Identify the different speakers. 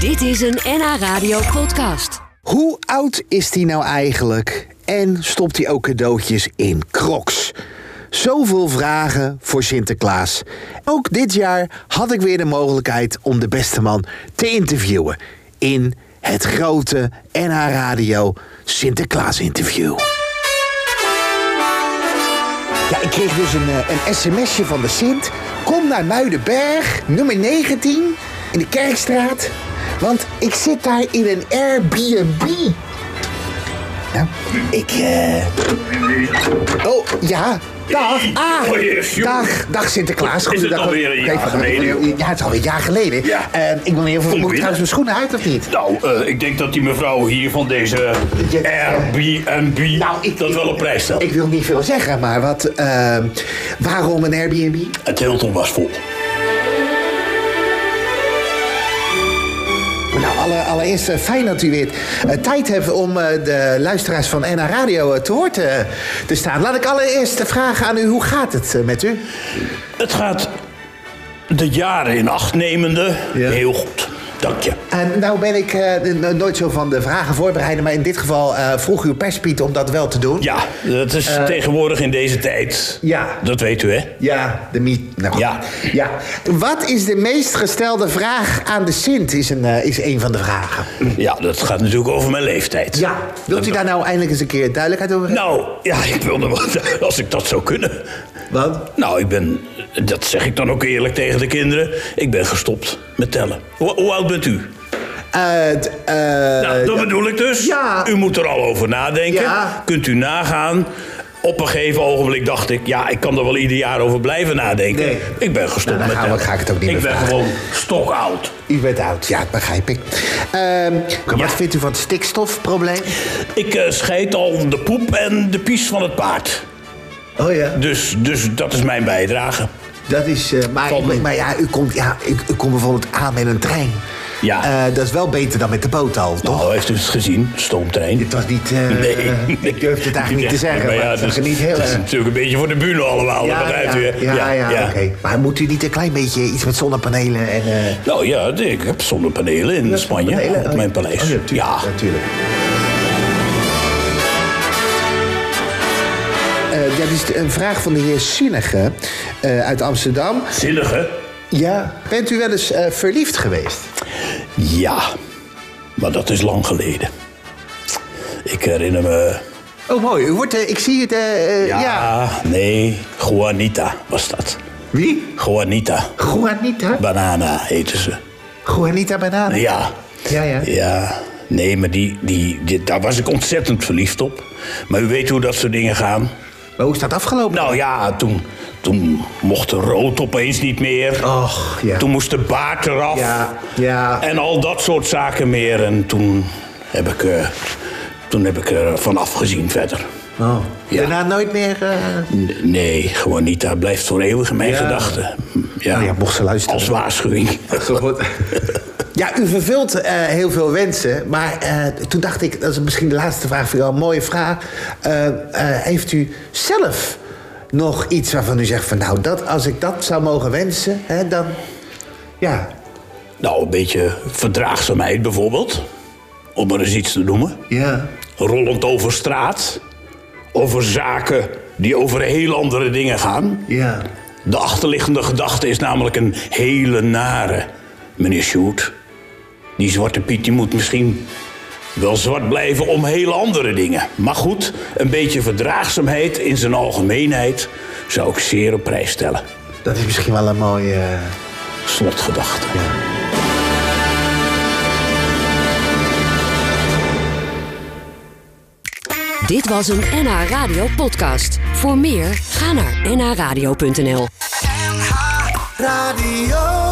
Speaker 1: Dit is een NH Radio podcast.
Speaker 2: Hoe oud is die nou eigenlijk? En stopt hij ook cadeautjes in crocs? Zoveel vragen voor Sinterklaas. Ook dit jaar had ik weer de mogelijkheid om de beste man te interviewen. In het grote NH Radio Sinterklaas interview. Ja, ik kreeg dus een, eh, een sms'je van de Sint. Kom naar Muidenberg, nummer 19, in de Kerkstraat. Want ik zit daar in een Airbnb. Nou, ik... eh, Oh, ja. Dag. Ah,
Speaker 3: Oh, yes, jongen.
Speaker 2: dag, dag Sinterklaas.
Speaker 3: Is het
Speaker 2: Goeiedag.
Speaker 3: alweer een jaar
Speaker 2: Kijk,
Speaker 3: geleden?
Speaker 2: Ja, het is alweer een jaar geleden.
Speaker 3: Ja.
Speaker 2: Eh, ik wil even... Moet ik
Speaker 3: binnen.
Speaker 2: trouwens mijn schoenen uit of niet?
Speaker 3: Nou, eh, ik denk dat die mevrouw hier van deze
Speaker 2: Ja,
Speaker 3: Airbnb dat wel op prijs stelt.
Speaker 2: Nou, Ik wil niet veel zeggen, maar wat... eh, waarom een Airbnb?
Speaker 3: Het Hilton was vol.
Speaker 2: Nou, alle, allereerst eh, fijn dat u weer eh, tijd hebt om eh, de luisteraars van NH Radio eh, te hoort eh, te staan. Laat ik allereerst vragen aan u, hoe gaat het eh, met u?
Speaker 3: Het gaat de jaren in acht nemende
Speaker 2: Ja.
Speaker 3: heel goed. Dank je.
Speaker 2: En nou ben ik eh, n- nooit zo van de vragen voorbereiden, maar in dit geval eh, vroeg uw perspiet om dat wel te doen.
Speaker 3: Ja, dat is tegenwoordig in deze tijd.
Speaker 2: Eh, ja.
Speaker 3: Dat weet u, hè?
Speaker 2: Ja, de meet. Nou, goed.
Speaker 3: Ja.
Speaker 2: ja. Wat is de meest gestelde vraag aan de Sint, is een, eh, is een van de vragen.
Speaker 3: Ja, dat gaat natuurlijk over mijn leeftijd.
Speaker 2: Ja, wilt u daar nou eindelijk eens een keer duidelijkheid over geven?
Speaker 3: Nou, ja, ik wilde wel... Als ik dat zou kunnen.
Speaker 2: Want?
Speaker 3: Nou, ik ben... Dat zeg ik dan ook eerlijk tegen de kinderen. Ik ben gestopt met tellen. Hoe, hoe oud bent u?
Speaker 2: Eh, t- eh,
Speaker 3: Nou, dat bedoel ik dus.
Speaker 2: Ja.
Speaker 3: U moet er al over nadenken.
Speaker 2: Ja.
Speaker 3: Kunt u nagaan. Op een gegeven ogenblik dacht ik, ja, ik kan er wel ieder jaar over blijven nadenken.
Speaker 2: Nee.
Speaker 3: Ik ben gestopt
Speaker 2: Nou, dan
Speaker 3: met
Speaker 2: gaan we- ga
Speaker 3: tellen.
Speaker 2: ik het ook niet
Speaker 3: Ik
Speaker 2: meer
Speaker 3: ben
Speaker 2: vragen.
Speaker 3: gewoon stokoud.
Speaker 2: U bent oud, ja, dat begrijp ik. Ehm,
Speaker 3: Ja.
Speaker 2: Wat vindt u van het stikstofprobleem?
Speaker 3: Ik eh, scheid al de poep en de pies van het paard.
Speaker 2: Oh ja.
Speaker 3: Dus, dus dat is mijn bijdrage.
Speaker 2: Dat is. eh, maar,
Speaker 3: Valt mee.
Speaker 2: maar ja, u komt, ja, u, u komt bijvoorbeeld aan met een trein.
Speaker 3: Ja.
Speaker 2: Eh, dat is wel beter dan met de boot al, toch?
Speaker 3: Nou, heeft u het gezien? Stoomtrein.
Speaker 2: Het was niet. eh, Ik durf het eigenlijk niet te zeggen. Maar, dus het
Speaker 3: dat
Speaker 2: was
Speaker 3: is,
Speaker 2: niet heel
Speaker 3: dat is
Speaker 2: erg.
Speaker 3: natuurlijk een beetje voor de bühne allemaal. dat begrijpt
Speaker 2: ja,
Speaker 3: u, hè?
Speaker 2: ja, ja, oké. Maar moet u niet een klein beetje iets met zonnepanelen en... eh,
Speaker 3: Nou ja, ik heb zonnepanelen in Spanje
Speaker 2: zonnepanelen?
Speaker 3: op mijn paleis.
Speaker 2: Oh, ja, tuurlijk,
Speaker 3: ja,
Speaker 2: natuurlijk. Eh, dat is een vraag van de heer Zinnige eh, uit Amsterdam.
Speaker 3: zinnige.
Speaker 2: Ja. Bent u wel eens eh, verliefd geweest?
Speaker 3: Ja, maar dat is lang geleden. Ik herinner me.
Speaker 2: Oh, mooi. U wordt, eh, ik zie het, eh, eh, ja.
Speaker 3: Ja, nee, Juanita was dat.
Speaker 2: Wie?
Speaker 3: Juanita.
Speaker 2: Juanita?
Speaker 3: Banana heette ze.
Speaker 2: Juanita Banana.
Speaker 3: Ja.
Speaker 2: Ja, ja.
Speaker 3: Ja, nee, maar die, die, die- daar was ik ontzettend verliefd op. Maar u weet hoe dat soort dingen gaan.
Speaker 2: Maar hoe is dat afgelopen?
Speaker 3: Nou ja, toen, toen mocht de rood opeens niet meer.
Speaker 2: Och, Oh, ja.
Speaker 3: Toen Eh, moest de baard eraf.
Speaker 2: Ja, ja.
Speaker 3: En al dat soort zaken meer. En toen heb ik, eh, toen heb ik er vanaf gezien verder.
Speaker 2: Oh.
Speaker 3: Ja.
Speaker 2: Daarna nooit meer... eh,
Speaker 3: N- Nee, gewoon niet. Hij blijft voor eeuwig in mijn
Speaker 2: Ja.
Speaker 3: gedachten. Hm, Ja.
Speaker 2: Nou ja, mocht ze luisteren.
Speaker 3: Als waarschuwing.
Speaker 2: Ja, u vervult eh, heel veel wensen. Maar eh, toen dacht ik, dat is misschien de laatste vraag voor jou, een mooie vraag. Eh, eh, heeft u zelf nog iets waarvan u zegt van nou, dat, als ik dat zou mogen wensen, hè, dan. Ja,
Speaker 3: nou, een beetje verdraagzaamheid bijvoorbeeld. Om er eens iets te noemen.
Speaker 2: ja.
Speaker 3: Rollend over straat. Over zaken die over heel andere dingen gaan.
Speaker 2: Ja.
Speaker 3: De achterliggende gedachte is namelijk een hele nare, meneer Sjoerd. Die zwarte Piet die moet misschien wel zwart blijven om hele andere dingen. Maar goed, een beetje verdraagzaamheid in zijn algemeenheid zou ik zeer op prijs stellen.
Speaker 2: Dat is misschien wel een mooie. eh,
Speaker 3: Slotgedachte.
Speaker 1: Dit was een NH Radio podcast. Voor meer, ga naar nhradio.nl.
Speaker 2: Radio.